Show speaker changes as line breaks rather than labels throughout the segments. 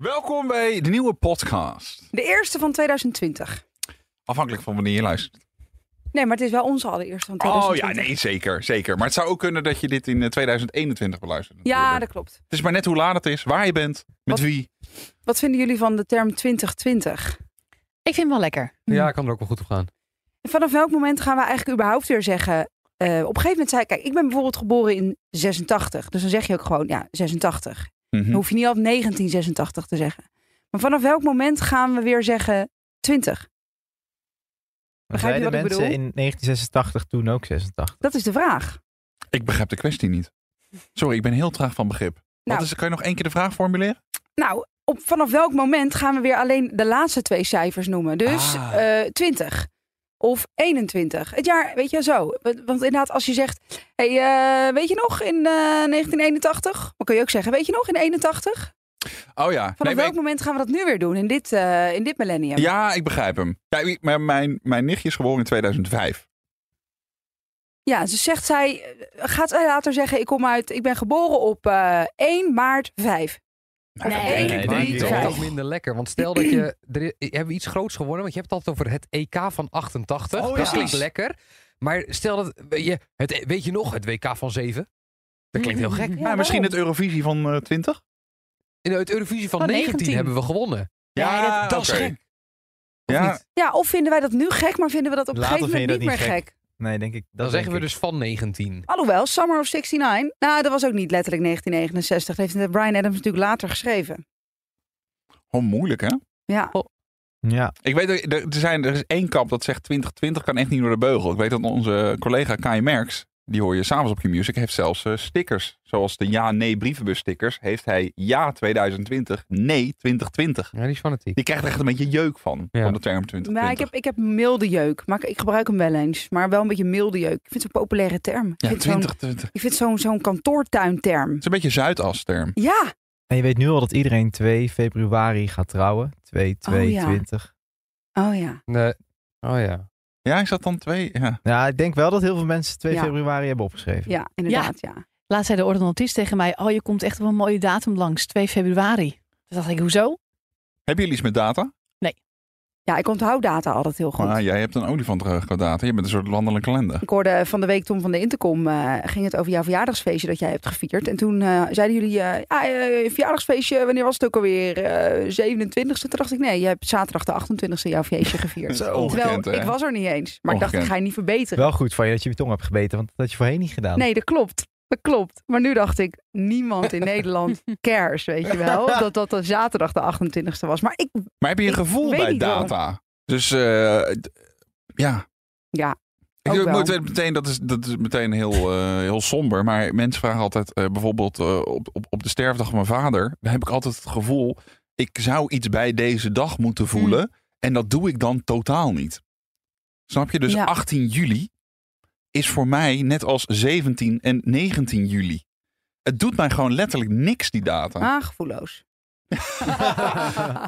Welkom bij de nieuwe podcast.
De eerste van 2020.
Afhankelijk van wanneer je luistert.
Nee, maar het is wel onze allereerste van
Oh
2020.
ja, nee, zeker, zeker. Maar het zou ook kunnen dat je dit in eh, 2021 beluistert.
Ja,
natuurlijk.
dat klopt.
Het is maar net hoe laat het is, waar je bent, met
Wat?
wie.
Wat vinden jullie van de term 2020?
Ik vind hem wel lekker. Mm.
Ja, ik kan er ook wel goed op gaan.
En vanaf welk moment gaan we eigenlijk überhaupt weer zeggen... eh, op een gegeven moment zei ik... Kijk, ik ben bijvoorbeeld geboren in 86. Dus dan zeg je ook gewoon, ja, 86.
Mhm.
Dan hoef je niet altijd 1986 te zeggen. Maar vanaf welk moment gaan we weer zeggen 20?
Maar
Begrijp je
zeiden
wat ik
mensen
bedoel?
in 1986 toen ook 86?
Dat is de vraag.
Ik begrijp de kwestie niet. Sorry, ik ben heel traag van begrip.
Nou.
Wat is, kan je nog één keer de vraag formuleren?
Nou, op, vanaf welk moment gaan we weer alleen de laatste twee cijfers noemen? Dus
Ah.
eh 20 of 21. Het jaar, weet je, zo. Want, want inderdaad, als je zegt, hey, eh, weet je nog, in eh, 1981? Maar kun je ook zeggen, weet je nog, in 81?
Oh ja.
Vanaf
Nee, maar
welk moment gaan we dat nu weer doen, in dit, eh, in dit millennium?
ik- ja, ik begrijp hem. Ja, ik- maar mijn, mijn nichtje is geboren in 2005.
Ja, ze zegt zij, eh, gaat zij later zeggen, ik kom uit, ik ben geboren op eh 1 maart 5.
Nou, dat
Nee.
denk
Nee,
ik
maar
denk
niet,
die
ik
is
ook.
toch?
toch minder lekker. Want stel dat je... Er i- hebben we iets groots gewonnen? Want je hebt het altijd over het EK van 88.
Oh,
dat
ja.
klinkt
Precies.
lekker. Maar stel dat... Weet je, het, weet je nog het WK van 7? Dat klinkt heel gek.
Ja, Nou, misschien het Eurovisie van eh, 20?
In het Eurovisie van,
Van
19,
19.
hebben we gewonnen.
Ja,
dat, dat
oké.
is gek. Of
Ja,
niet?
Ja, of vinden wij dat nu gek, maar vinden we dat op een
Later
gegeven moment
vind
niet
je
meer
dat
gek.
niet Nee, denk ik. Dat
Dan zeggen we
denk ik.
dus van 19.
Alhoewel, Summer of 69, nou dat was ook niet letterlijk 1969. Dat heeft Brian Adams natuurlijk later geschreven.
Hoe Oh, moeilijk, hè?
Ja,
dus-
Ja,
Ik weet, dat- er, er zijn, er is één kamp dat zegt 2020 kan echt niet door de beugel. Ik weet dat onze collega Kai Merks, die hoor je s'avonds op je music, heeft zelfs eh, stickers. Zoals de ja-nee brievenbus stickers, heeft hij ja 2020, nee 2020.
Ja, die is fanatiek.
Die krijgt er echt een beetje jeuk van,
Ja.
van de term 2020.
maar ik heb, ik heb milde jeuk. Maar ik, ik gebruik hem wel eens, maar wel een beetje milde jeuk. Ik vind het een populaire term. Ik
ja,
vind het zo'n-
2020.
ik vind het zo'n zo'n kantoortuinterm.
Het is een beetje Zuidas-term.
Ja,
en je weet nu al dat iedereen 2 februari gaat trouwen. 2, 2,
Oh, ja.
20.
oh ja.
Nee. Oh ja.
Ja, ik zat dan twee. Ja.
Ja, ik denk wel dat heel veel mensen 2
Ja.
februari hebben opgeschreven.
Ja, inderdaad, ja.
Laatst zei de ordonnantist tegen mij: Oh, je komt echt op een mooie datum langs, 2 februari. Toen dacht ik: Hoezo?
Hebben jullie iets met data?
Ja, ik onthoud data altijd heel goed.
Ah, jij hebt een olifant eh, qua data. Je bent een soort landelijke kalender.
Ik hoorde van de week Tom van de Intercom, eh, ging het over jouw verjaardagsfeestje dat jij hebt gevierd. En toen eh, zeiden jullie, eh ja, eh, verjaardagsfeestje, wanneer was het ook alweer? Eh 27 e Toen dacht ik, nee, je hebt zaterdag de 28e jouw feestje gevierd.
Zo
Terwijl,
ongekend, hè?
ik was er niet eens. Maar ik dacht, ik
Ongekend.
ga je niet verbeteren.
Wel goed van je dat je je tong hebt gebeten, want dat had je voorheen niet gedaan.
Nee, dat klopt. Dat klopt. Maar nu dacht ik, niemand in Nederland cares, weet je wel. Dat dat de zaterdag de 28e was. Maar ik,
Maar heb je een
Ik
gevoel
weet
bij
niet waarom.
data? Dus eh, d- ja.
Ja,
Ik,
ook
ik
wel.
moet meteen, dat is, dat is meteen heel, eh, heel somber. Maar mensen vragen altijd, eh, bijvoorbeeld eh, op, op, op de sterfdag van mijn vader, dan heb ik altijd het gevoel, ik zou iets bij deze dag moeten
Hmm.
voelen. En dat doe ik dan totaal niet. Snap je? Dus
Ja.
18 juli is voor mij net als 17 en 19 juli. Het doet mij gewoon letterlijk niks, die data.
aangevoelloos.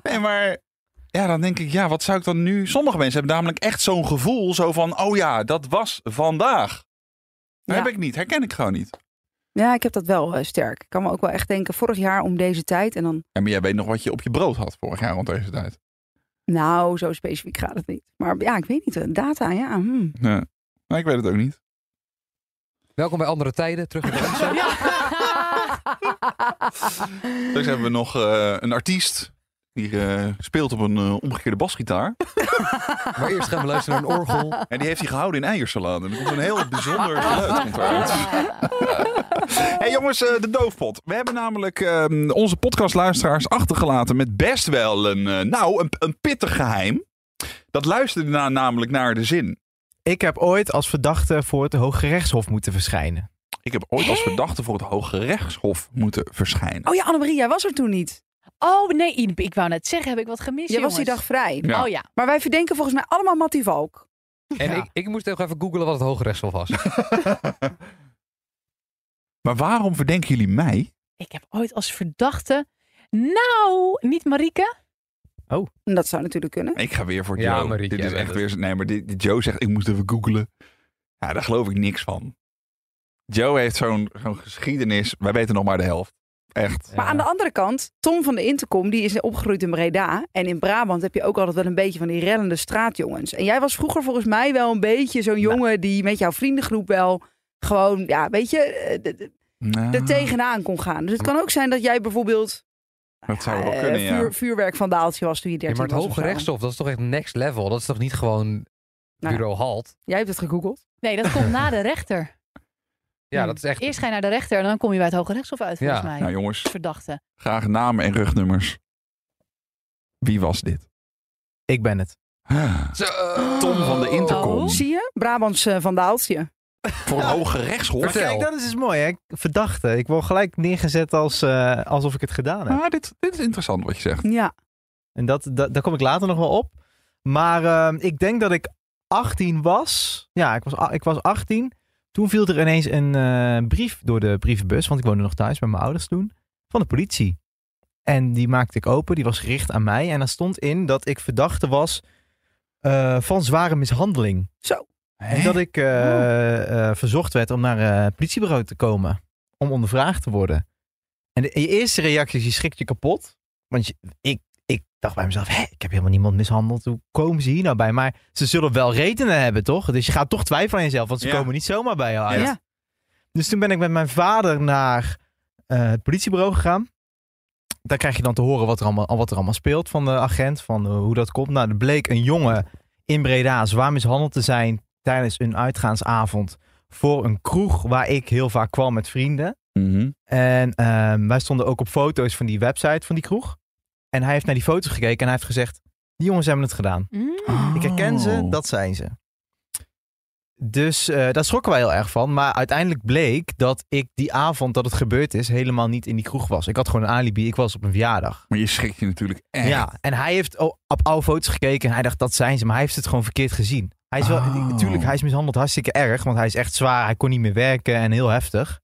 Nee, maar ja, dan denk ik, ja, wat zou ik dan nu... Sommige mensen hebben namelijk echt zo'n gevoel zo van, oh ja, dat was vandaag. Dat
Ja.
heb ik niet, herken ik gewoon niet.
Ja, ik heb dat wel eh, sterk. Ik kan me ook wel echt denken, vorig jaar om deze tijd en dan
Ja, maar jij weet nog wat je op je brood had vorig jaar rond deze tijd.
Nou, zo specifiek gaat het niet. Maar ja, ik weet niet. Eh, Data, ja. hm.
Ja. Nee, ik weet het ook niet.
Welkom bij Andere Tijden. Terug naar de mensen.
Dus hebben we nog eh, een artiest die eh, speelt op een eh, omgekeerde basgitaar.
Maar eerst gaan we luisteren naar een orgel.
En die heeft hij gehouden in eiersalade. En er komt een heel bijzonder geluid komt eruit.
Ah.
hey jongens, eh, de doofpot. We hebben namelijk ehm, onze podcastluisteraars achtergelaten met best wel een, eh, nou, een, een pittig geheim. Dat luisterde na, namelijk naar de zin.
Ik heb ooit als verdachte voor het Hooggerechtshof moeten verschijnen.
Ik heb ooit als verdachte voor het Hoge Rechtshof moeten verschijnen.
Oh ja, Annemarie, jij was er toen niet.
Oh nee, Iep, ik wou net zeggen: heb ik wat gemist?
Jij was die dag
jongens?
vrij.
Ja.
Oh ja.
Maar wij verdenken volgens mij allemaal Mattie Valk.
En
Ja.
ik, ik moest ook even googlen wat het hoogrechtshof was.
Maar waarom verdenken jullie mij?
Ik heb ooit als verdachte. Nou, niet Marieke.
En dat zou natuurlijk kunnen.
Ik ga weer voor
Ja,
Joe.
Marieke,
dit is
jij
echt
bent
weer. Nee, maar dit, dit- Joe zegt: ik moest even googlen. Ja, daar geloof ik niks van. Joe heeft zo'n zo'n geschiedenis. Wij weten nog maar de helft. Echt.
Maar aan de andere kant, Tom van de Intercom, die is opgegroeid in Breda. En in Brabant heb je ook altijd wel een beetje van die rellende straatjongens. En jij was vroeger volgens mij wel een beetje zo'n
Nou.
jongen die met jouw vriendengroep wel gewoon, ja, weet je, eh, de- de-
Nou,
er tegenaan kon gaan. Dus het kan ook zijn dat jij bijvoorbeeld
Dat zou wel
eh,
kunnen, ja.
vuur, vuurwerkvandaaltje was toen je
Ja,
13
maar het
was. of
Hoge
zo.
Rechtshof, dat is toch echt next level? Dat is toch niet gewoon
Nou ja.
bureau halt?
Jij hebt het gegoogeld.
Nee, dat komt na de rechter.
Ja, dat is echt...
Eerst ga je naar de rechter en dan kom je bij het Hoge Rechtshof uit, volgens
Ja.
mij.
Nou jongens,
Verdachte.
graag namen en rugnummers. Wie was dit?
Ik ben het.
Ah.
Zo.
eh, Tom van de Intercom.
Oh.
Zie je? Brabants eh, vandaaltje.
Voor het Hoge Rechtshof.
Vertel.
Kijk, dat is dus mooi hè. Verdachte. Ik word gelijk neergezet als, eh, alsof ik het gedaan heb.
Ah, dit, dit is interessant wat je zegt.
Ja.
En dat, dat, daar kom ik later nog wel op. Maar ehm, ik denk dat ik 18 was. Ja, ik was, a- ik was 18. Toen viel er ineens een eh, brief door de brievenbus, want ik woonde nog thuis bij mijn ouders toen, van de politie. En die maakte ik open, die was gericht aan mij. En daar stond in dat ik verdachte was eh, van zware mishandeling.
Zo.
En dat ik eh, eh, verzocht werd om naar eh, het politiebureau te komen, om ondervraagd te worden. En de, je eerste reacties, die schrikt je kapot. Want je, ik, ik dacht bij mezelf, hé, ik heb helemaal niemand mishandeld. Hoe komen ze hier nou bij? Maar ze zullen wel redenen hebben, toch? Dus je gaat toch twijfelen aan jezelf, want ze
Ja.
komen niet zomaar bij jou uit.
Ja.
Dus toen ben ik met mijn vader naar eh, het politiebureau gegaan. Daar krijg je dan te horen wat er allemaal, wat er allemaal speelt van de agent, van eh, hoe dat komt. Nou, er bleek een jongen in Breda zwaar mishandeld te zijn tijdens een uitgaansavond voor een kroeg waar ik heel vaak kwam met vrienden.
Mhm.
En ehm, wij stonden ook op foto's van die website van die kroeg. En hij heeft naar die foto's gekeken en hij heeft gezegd, die jongens hebben het gedaan.
Mhm.
Ik herken ze,
Oh.
dat zijn ze. Dus eh, daar schrokken wij heel erg van. Maar uiteindelijk bleek dat ik die avond dat het gebeurd is helemaal niet in die kroeg was. Ik had gewoon een alibi. Ik was op een verjaardag.
Maar je schrikt je natuurlijk echt.
Ja, en hij heeft o- op oude foto's gekeken en hij dacht dat zijn ze. Maar hij heeft het gewoon verkeerd gezien. Hij is wel,
Oh.
natuurlijk, hij is mishandeld hartstikke erg. Want hij is echt zwaar. Hij kon niet meer werken en heel heftig.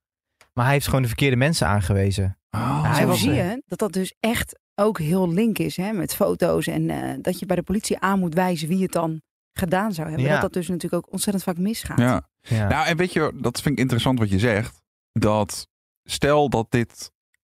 Maar hij heeft gewoon de verkeerde mensen aangewezen.
Oh.
Hij
Zo
was
zie
er.
je dat dat dus echt ook heel link is hè, met foto's. En eh, dat je bij de politie aan moet wijzen wie het dan gedaan zou hebben.
Ja.
Dat dat dus natuurlijk ook ontzettend vaak misgaat.
Ja.
Ja.
Nou, en weet je, dat vind ik interessant wat je zegt. Dat stel dat dit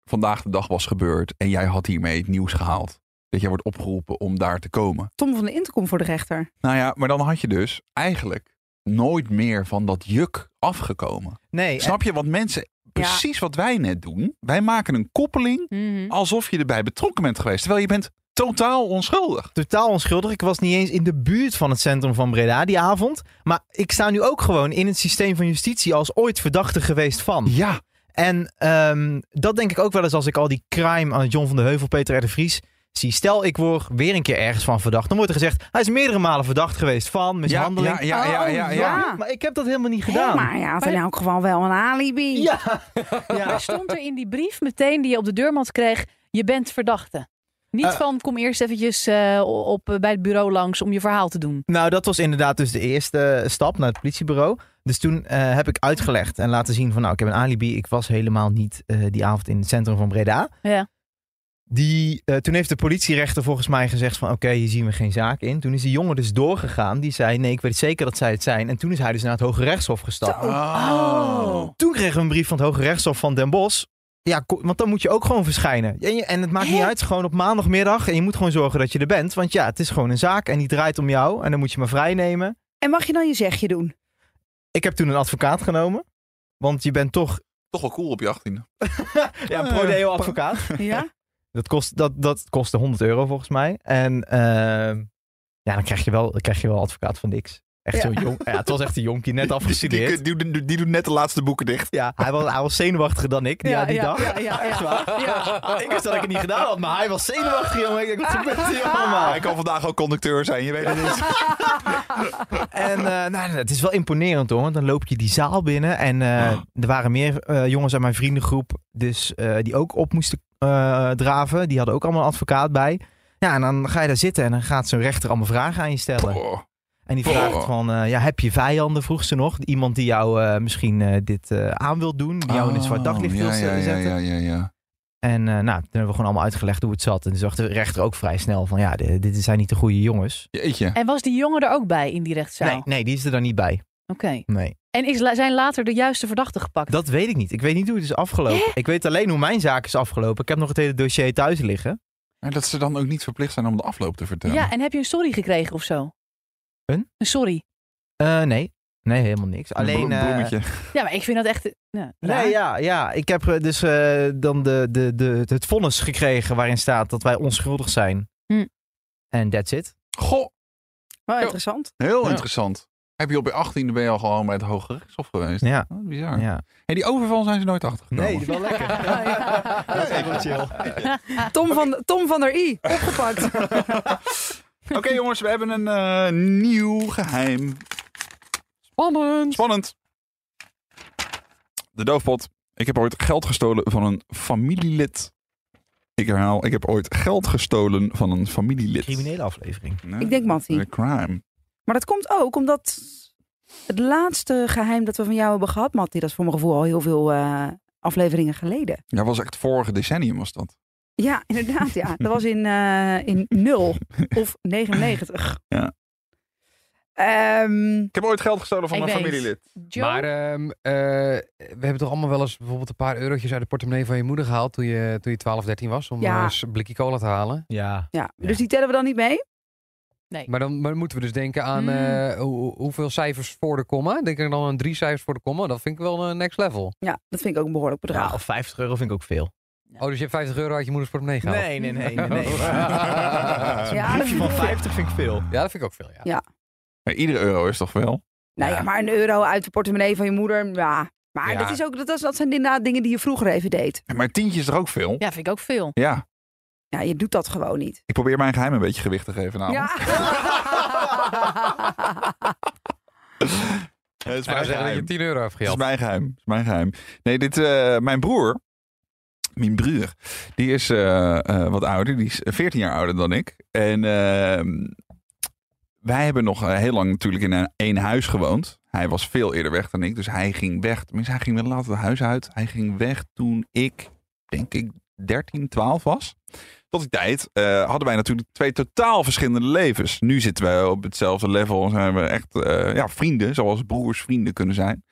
vandaag de dag was gebeurd en jij had hiermee het nieuws gehaald. Dat jij wordt opgeroepen om daar te komen.
Tom van de Intercom voor de rechter.
Nou ja, maar dan had je dus eigenlijk nooit meer van dat juk afgekomen.
nee,
Snap je? Want mensen, precies wat wij net doen. Wij maken een koppeling
Oh,
Mhm.
alsof je erbij betrokken bent geweest. Terwijl je bent totaal onschuldig.
totaal onschuldig. Ik was niet eens in de buurt van het centrum van Breda die avond. Maar ik sta nu ook gewoon in het systeem van justitie als ooit verdachte geweest van.
Ja.
En ehm, dat denk ik ook wel eens als ik al die crime aan John van de Heuvel, Peter R. de Vries zie. Stel, ik word weer een keer ergens van verdacht. Dan wordt er gezegd, hij is meerdere malen verdacht geweest van
Ja,
mishandeling. Ah,
ja, ja, ja,
Oh,
ja, ja.
ja.
Maar ik heb dat helemaal niet gedaan.
Maar ja, had in elk geval wel een alibi.
Ja. ja.
Maar stond er in die brief meteen die je op de deurmat kreeg, je bent verdachte. Niet
Eh.
van kom eerst eventjes eh, op, bij het bureau langs om je verhaal te doen.
Nou, dat was inderdaad dus de eerste stap naar het politiebureau. Dus toen eh, heb ik uitgelegd en laten zien van... nou, ik heb een alibi, ik was helemaal niet eh, die avond in het centrum van Breda.
Ja.
Die, eh, toen heeft de politierechter volgens mij gezegd van... oké, hier zien we geen zaak in. Toen is die jongen dus doorgegaan. Die zei, nee, ik weet zeker dat zij het zijn. En toen is hij dus naar het Hoge Rechtshof gestapt.
Oh.
Toen kregen we een brief van het Hoge Rechtshof van Den Bosch. Ja, ko- want dan moet je ook gewoon verschijnen. En, je- en het maakt niet
Hè?
uit, gewoon op maandagmiddag. En je moet gewoon zorgen dat je er bent. Want ja, het is gewoon een zaak en die draait om jou. En dan moet je maar vrijnemen.
En mag je dan je zegje doen?
Ik heb toen een advocaat genomen. Want je bent toch
Toch wel cool op je 18e.
ja,
Eh,
pro deo advocaat.
Ja.
Dat, kost, dat, dat kostte 100 euro volgens mij. En ehm, ja, dan krijg je wel, dan krijg je wel advocaat van niks. Echt zo jong. Ja, het was echt een jonkie, net
Die,
afgestudeerd.
die, die, die doet net de laatste boeken dicht.
Ja, hij was, hij was zenuwachtiger dan ik die,
Ja,
die
ja,
dag.
ja, ja, ja.
Echt waar. Ik wist dat ik het niet gedaan had, maar hij was zenuwachtig, jongen. Ik dacht, wat gebeurt
Ah.
hier allemaal?
Hij kan vandaag ook conducteur zijn, je weet het niet.
En eh, nou, nou, het is wel imponerend hoor, want dan loop je die zaal binnen. En eh,
Oh.
er waren meer eh, jongens uit mijn vriendengroep dus, eh, die ook op moesten eh, draven. Die hadden ook allemaal een advocaat bij. Ja, en dan ga je daar zitten en dan gaat zo'n rechter allemaal vragen aan je stellen.
Oh.
En die
Boah.
vraagt van, eh, ja, heb je vijanden, vroeg ze nog. Iemand die jou eh, misschien eh, dit eh, aan wil doen, die jou in het zwart daglicht wil
Oh, ja, ja,
zetten.
ja, ja, ja, ja.
En eh, nou, toen hebben we gewoon allemaal uitgelegd hoe het zat. En toen zag de rechter ook vrij snel van, ja, dit, dit zijn niet de goede jongens.
Jeetje.
En was die jongen er ook bij in die rechtszaal?
Nee, nee, die is er dan niet bij.
Oké.
Nee.
En is, la- zijn later de juiste verdachten gepakt?
Dat weet ik niet. Ik weet niet hoe het is afgelopen. Ik weet alleen hoe mijn zaak is afgelopen. Ik heb nog het hele dossier thuis liggen.
Maar dat ze dan ook niet verplicht zijn om de afloop te
ja.
vertellen.
en heb je een sorry gekregen of zo?
Een?
Een sorry.
Eh, nee. Nee, helemaal niks. Alleen.
Een
eh,
bloemetje.
Ja, maar ik vind dat echt... Nou, raar.
nee, ja, ja. Ik heb eh, dus eh, dan de, de, de, het vonnis gekregen waarin staat dat wij onschuldig zijn.
Hm.
En that's it.
Goh,
Wel interessant.
heel
Ja.
interessant. Heb je op je 18e ben je al gewoon bij het Hoge Rechtshof geweest?
Ja.
Oh, bizar.
ja.
En die overval zijn ze nooit achtergekomen.
Ah. wel lekker.
Ja.
Dat is wel chill.
Tom van, Tom van der I, opgepakt.
Oké jongens, we hebben een eh, nieuw geheim.
Spannend.
Spannend. De doofpot. Ik heb ooit geld gestolen van een familielid. Ik herhaal, ik heb ooit geld gestolen van een familielid.
Criminele aflevering.
Nee,
Ik denk Mattie.
een crime.
Maar dat komt ook omdat het laatste geheim dat we van jou hebben gehad, Matti, dat is voor mijn gevoel al heel veel eh, afleveringen geleden.
Ja, was echt vorige decennium was dat.
Ja, inderdaad. Ja. Dat was in, eh in 0 of 99.
Ja.
Ehm,
Ik heb ooit geld gestolen van
Ik
een
weet.
familielid.
Joe?
Maar ehm, eh, we hebben toch allemaal wel eens bijvoorbeeld een paar eurotjes uit de portemonnee van je moeder gehaald toen je, toen je 12, 13 was om
Ja.
eh, een blikje cola te halen.
Ja.
ja. Dus die tellen we dan niet mee?
Maar dan maar moeten we dus denken aan
Mm.
eh, hoe- hoe- hoeveel cijfers voor de komma. Denk ik dan aan drie cijfers voor de komma. Dat vind ik wel een next level.
Ja, dat vind ik ook een behoorlijk bedrag.
ja. Of 50 euro vind ik ook veel.
Oh, dus je hebt 50 euro uit je moeders portemonnee gehaald?
Nee, nee, nee. nee, nee.
Ja.
Zo'n briefje van 50 vind ik veel.
Ja, dat vind ik ook veel, ja.
Ja.
Maar iedere euro is toch wel?
Nou ja, maar een euro uit de portemonnee van je moeder, ja. Maar
Ja.
dat, is ook, dat, is- dat zijn inderdaad dingen die je vroeger even deed.
Maar tientjes is er ook veel?
Ja, vind ik ook veel.
Ja,
Ja, je doet dat gewoon niet.
ik probeer mijn geheim een beetje gewicht te geven. Nou.
Ja.
het is
Ik zou zeggen dat je 10 euro hebt
Het is
gehaald.
mijn geheim. Het is mijn geheim. Nee, dit, eh, mijn broer, mijn broer, die is eh, eh, wat ouder. Die is 14 jaar ouder dan ik. En ehm, wij hebben nog eh, heel lang natuurlijk in een, één huis gewoond. Hij was veel eerder weg dan ik, dus hij ging weg. Tenminste, hij ging wel later het huis uit. Hij ging weg toen ik, denk ik, 13, 12 was. Tot die tijd eh, hadden wij natuurlijk twee totaal verschillende levens. Nu zitten wij op hetzelfde level en zijn we echt eh, ja, vrienden, zoals broers vrienden kunnen zijn.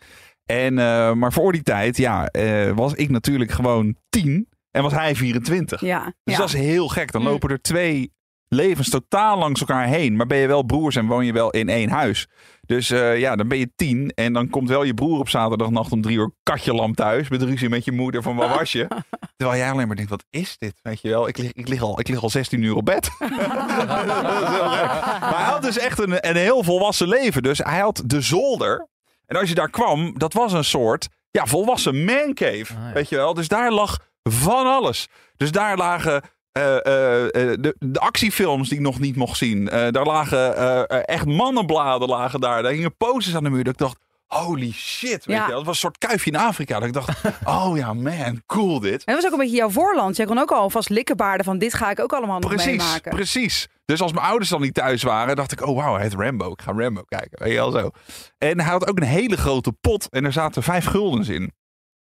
En, eh, maar voor die tijd ja, eh, was ik natuurlijk gewoon 10 en was hij 24.
ja.
Dus
ja.
dat is heel gek. Dan
Mm.
lopen er twee levens totaal langs elkaar heen. Maar ben je wel broers en woon je wel in één huis. Dus eh, ja, dan ben je tien. En dan komt wel je broer op zaterdagnacht om drie uur katjelam thuis. Met ruzie met je moeder van waar was je? Terwijl jij alleen maar denkt, wat is dit? Weet je wel, ik lig, ik lig, al, ik lig al 16 uur op bed. Dat is heel gek. maar hij had dus echt een, een heel volwassen leven. Dus hij had de zolder. En als je daar kwam, dat was een soort ja, volwassen mancave.
Ah, ja.
Weet je wel, dus daar lag van alles. Dus daar lagen eh, eh, eh, de, de actiefilms die ik nog niet mocht zien. Eh, daar lagen eh, eh, echt mannenbladen lagen daar. Daar hingen posters aan de muur. Dat ik dacht, holy shit. Weet
Ja.
je, wel. dat was een soort kuifje in Afrika. Dat ik dacht, oh ja man, cool dit.
En dat was ook een beetje jouw voorland. Jij kon ook al vast likkenbaarden van dit ga ik ook allemaal nog
Precies,
meemaken.
precies. Dus als mijn ouders dan niet thuis waren, dacht ik, oh wauw, hij heet Rambo. Ik ga Rambo kijken. Weet je wel zo. En hij had ook een hele grote pot en er zaten vijf guldens in.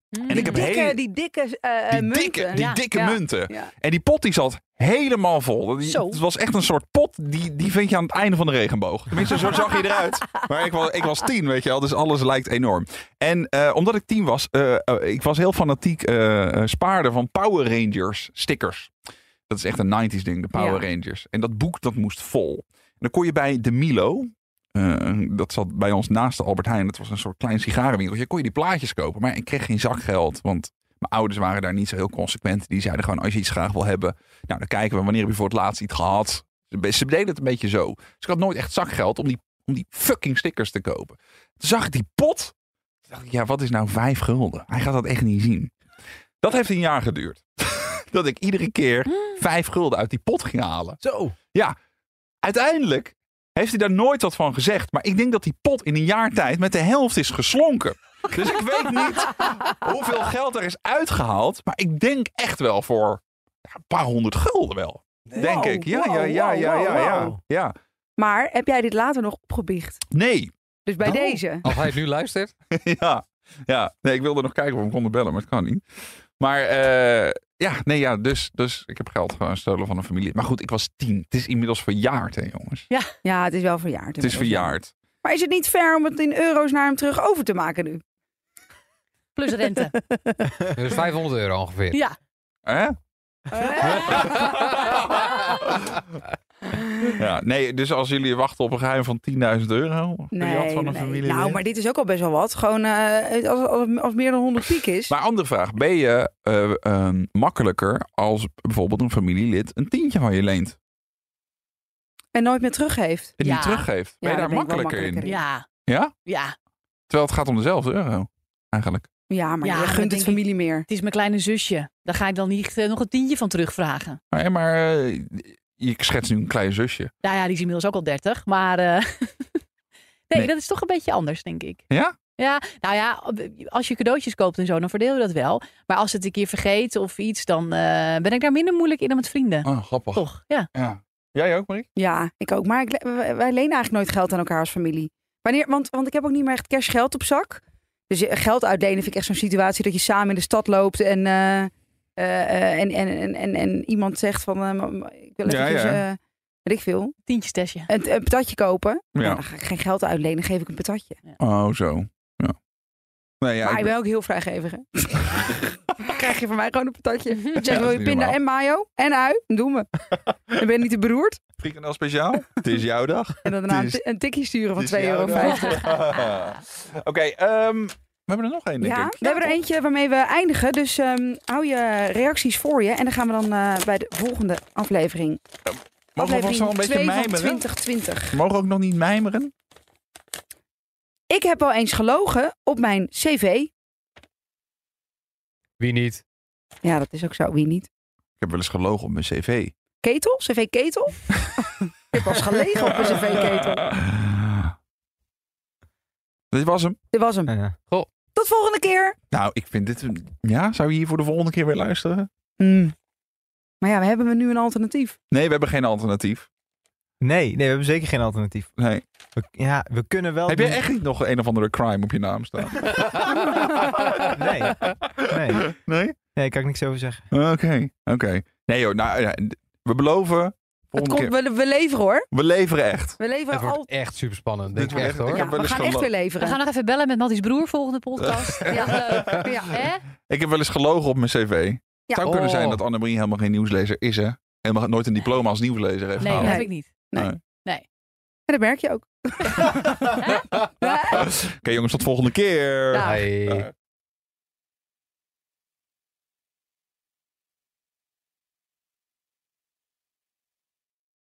Mm.
En ik heb
Die dikke,
hele-
die dikke eh,
die
munten.
dikke, die
ja,
dikke
ja.
munten.
Ja.
En die pot die zat helemaal vol. Die-
Zo.
Het was echt een soort pot, die, die vind je aan het einde van de regenboog. Tenminste, zo zag je eruit. Maar ik was, ik was tien, weet je wel, dus alles lijkt enorm. En eh, omdat ik tien was, eh, eh, ik was heel fanatiek eh, eh, spaarder van Power Rangers stickers. Dat is echt een 90s ding, de Power Rangers. En dat boek, dat moest vol. En dan kon je bij de Milo, eh, dat zat bij ons naast de Albert Heijn. Dat was een soort klein sigarenwinkeltje. Kon je die plaatjes kopen, maar ik kreeg geen zakgeld. Want mijn ouders waren daar niet zo heel consequent. Die zeiden gewoon, als je iets graag wil hebben, nou dan kijken we wanneer heb je voor het laatst iets gehad. Ze- Ze deden het een beetje zo. Dus ik had nooit echt zakgeld om die, om die fucking stickers te kopen. Toen zag ik die pot. Toen dacht ik, ja, wat is nou vijf gulden? Hij gaat dat echt niet zien. Dat heeft een jaar geduurd. dat ik iedere keer vijf gulden uit die pot ging halen.
Zo.
Uiteindelijk heeft hij daar nooit wat van gezegd. Maar ik denk dat die pot in een jaar tijd met de helft is geslonken. Dus ik weet niet hoeveel geld er is uitgehaald. Maar ik denk echt wel voor ja, een paar honderd gulden wel. Denk
Wow,
ik. Ja,
wow,
ja, ja,
wow,
ja, ja,
wow.
ja, ja.
Maar heb jij dit later nog opgebiecht?
Nee.
Dus bij
Oh.
deze.
Als hij het nu luistert.
ja. ja. Nee, ik wilde nog kijken of we hem konden bellen, maar het kan niet. Maar eh, ja, nee, ja. Dus, dus ik heb geld gestolen van een familie. Maar goed, ik was tien. Het is inmiddels verjaard, hè, jongens.
Ja, het is wel verjaard.
Het is verjaard.
Maar is het niet fair om het in euro's naar hem terug over te maken nu?
Plus rente.
Dus 500 euro ongeveer.
ja.
Hè?
Eh.
Ja, nee, dus als jullie wachten op een geheim van 10.000 euro, nee, van een familie.
Nou, maar dit is ook al best wel wat. Gewoon eh, als, als, als meer dan 100 piek is.
Maar andere vraag, ben je eh, eh, makkelijker als bijvoorbeeld een familielid een tientje van je leent
En nooit meer teruggeeft.
en
Ja.
die teruggeeft? Ben je
Ja,
daar
daar ben ik wel
makkelijker in?
makkelijker
Ja.
Ja?
Ja.
Terwijl het gaat om dezelfde euro, eigenlijk.
Ja, maar
Ja,
je
dat
gunt het
denk
familie meer.
Het is mijn kleine zusje. Daar ga ik dan niet eh, nog een tientje van terugvragen.
Maar, eh, maar eh, ik schets nu een klein zusje.
Nou ja, die is inmiddels ook al 30. Maar eh, nee,
Nee.
dat is toch een beetje anders, denk ik.
Ja?
Ja, nou ja, als je cadeautjes koopt en zo, dan verdeel je dat wel. Maar als het een keer vergeet of iets, dan eh, ben ik daar minder moeilijk in dan met vrienden.
Oh, grappig.
Toch? Ja.
Ja. Jij ook, Marie?
Ja, ik ook. Maar ik, le- wij wij lenen eigenlijk nooit geld aan elkaar als familie. Wanneer, want, want ik heb ook niet meer echt cash geld op zak. Dus eh, geld uitlenen vind ik echt zo'n situatie dat je samen in de stad loopt en, eh, eh, eh, en, en, en, en, en iemand zegt van eh, mam, ik wil
Ja,
even
ja.
weet ik veel,
Tientjes
Eh,
testje.
een, een patatje kopen.
Ja.
Nou, dan ga ik geen geld uitlenen, dan geef ik een patatje.
Oh, zo. Ja. Nee, ja,
maar
ik
ik ben ook heel vrijgevig. hè. Dan krijg je van mij gewoon een patatje. Dan
Ja,
zeggen
dat
we
is
pinda
normaal.
en mayo en ui, dan doen we. Dan ben je niet te beroerd.
Frikandel speciaal. Het is jouw dag.
En dan daarna een,
Het is-
ti- een tikkie sturen van
Het is
2,50
jouw
euro.
dag. Oké, ehm, we hebben er nog één, denk
Ja,
ik.
we hebben er eentje waarmee we eindigen. Dus ehm, hou je reacties voor je. En dan gaan we dan eh, bij de volgende aflevering.
Mogen we vast wel
aflevering
een beetje
2 van
mijmeren?
2020.
Mogen we ook nog niet mijmeren?
Ik heb al eens gelogen op mijn cv.
Wie niet?
Ja, dat is ook zo. Wie niet?
Ik heb wel eens gelogen op mijn cv.
Ketel? CV-ketel? ik heb al eens gelegen op een cv-ketel.
Dit was hem.
Dit was hem.
Ja.
Tot volgende keer.
Nou, ik vind dit... een- Ja, zou je hier voor de volgende keer weer luisteren?
Hmm. Maar ja, we hebben nu een alternatief.
Nee, we hebben geen alternatief.
Nee, nee, we hebben zeker geen alternatief.
Nee.
We, ja, we kunnen
Oh,
wel...
Heb je
doen-
echt niet nog een of andere crime op je naam staan?
Nee. Nee.
Nee?
Nee, kan ik niks over zeggen.
Oké. Oké. Nee joh, nou, ja, we beloven...
Het
Volgende
komt,
keer.
we, we leveren hoor.
We leveren echt.
We
Het
leveren
wordt
al.
echt super spannend. Denk ik
wordt
echt
echt- ik
hoor.
Ja,
heb wel
we
eens
gaan echt weer
gelo-
We
leveren.
gaan nog even bellen met Matties broer volgende podcast. ja, leuk.
Ja.
Hè?
Ik heb wel eens gelogen op mijn cv. Het zou kunnen
Oh.
zijn dat Annemarie helemaal geen nieuwslezer is, hè? Helemaal nooit een diploma als nieuwslezer heeft
Nee, dat
gehaald.
heb ik niet.
En dat merk je ook.
Oké, jongens, tot volgende keer.
Dag.
Hey.
Dag.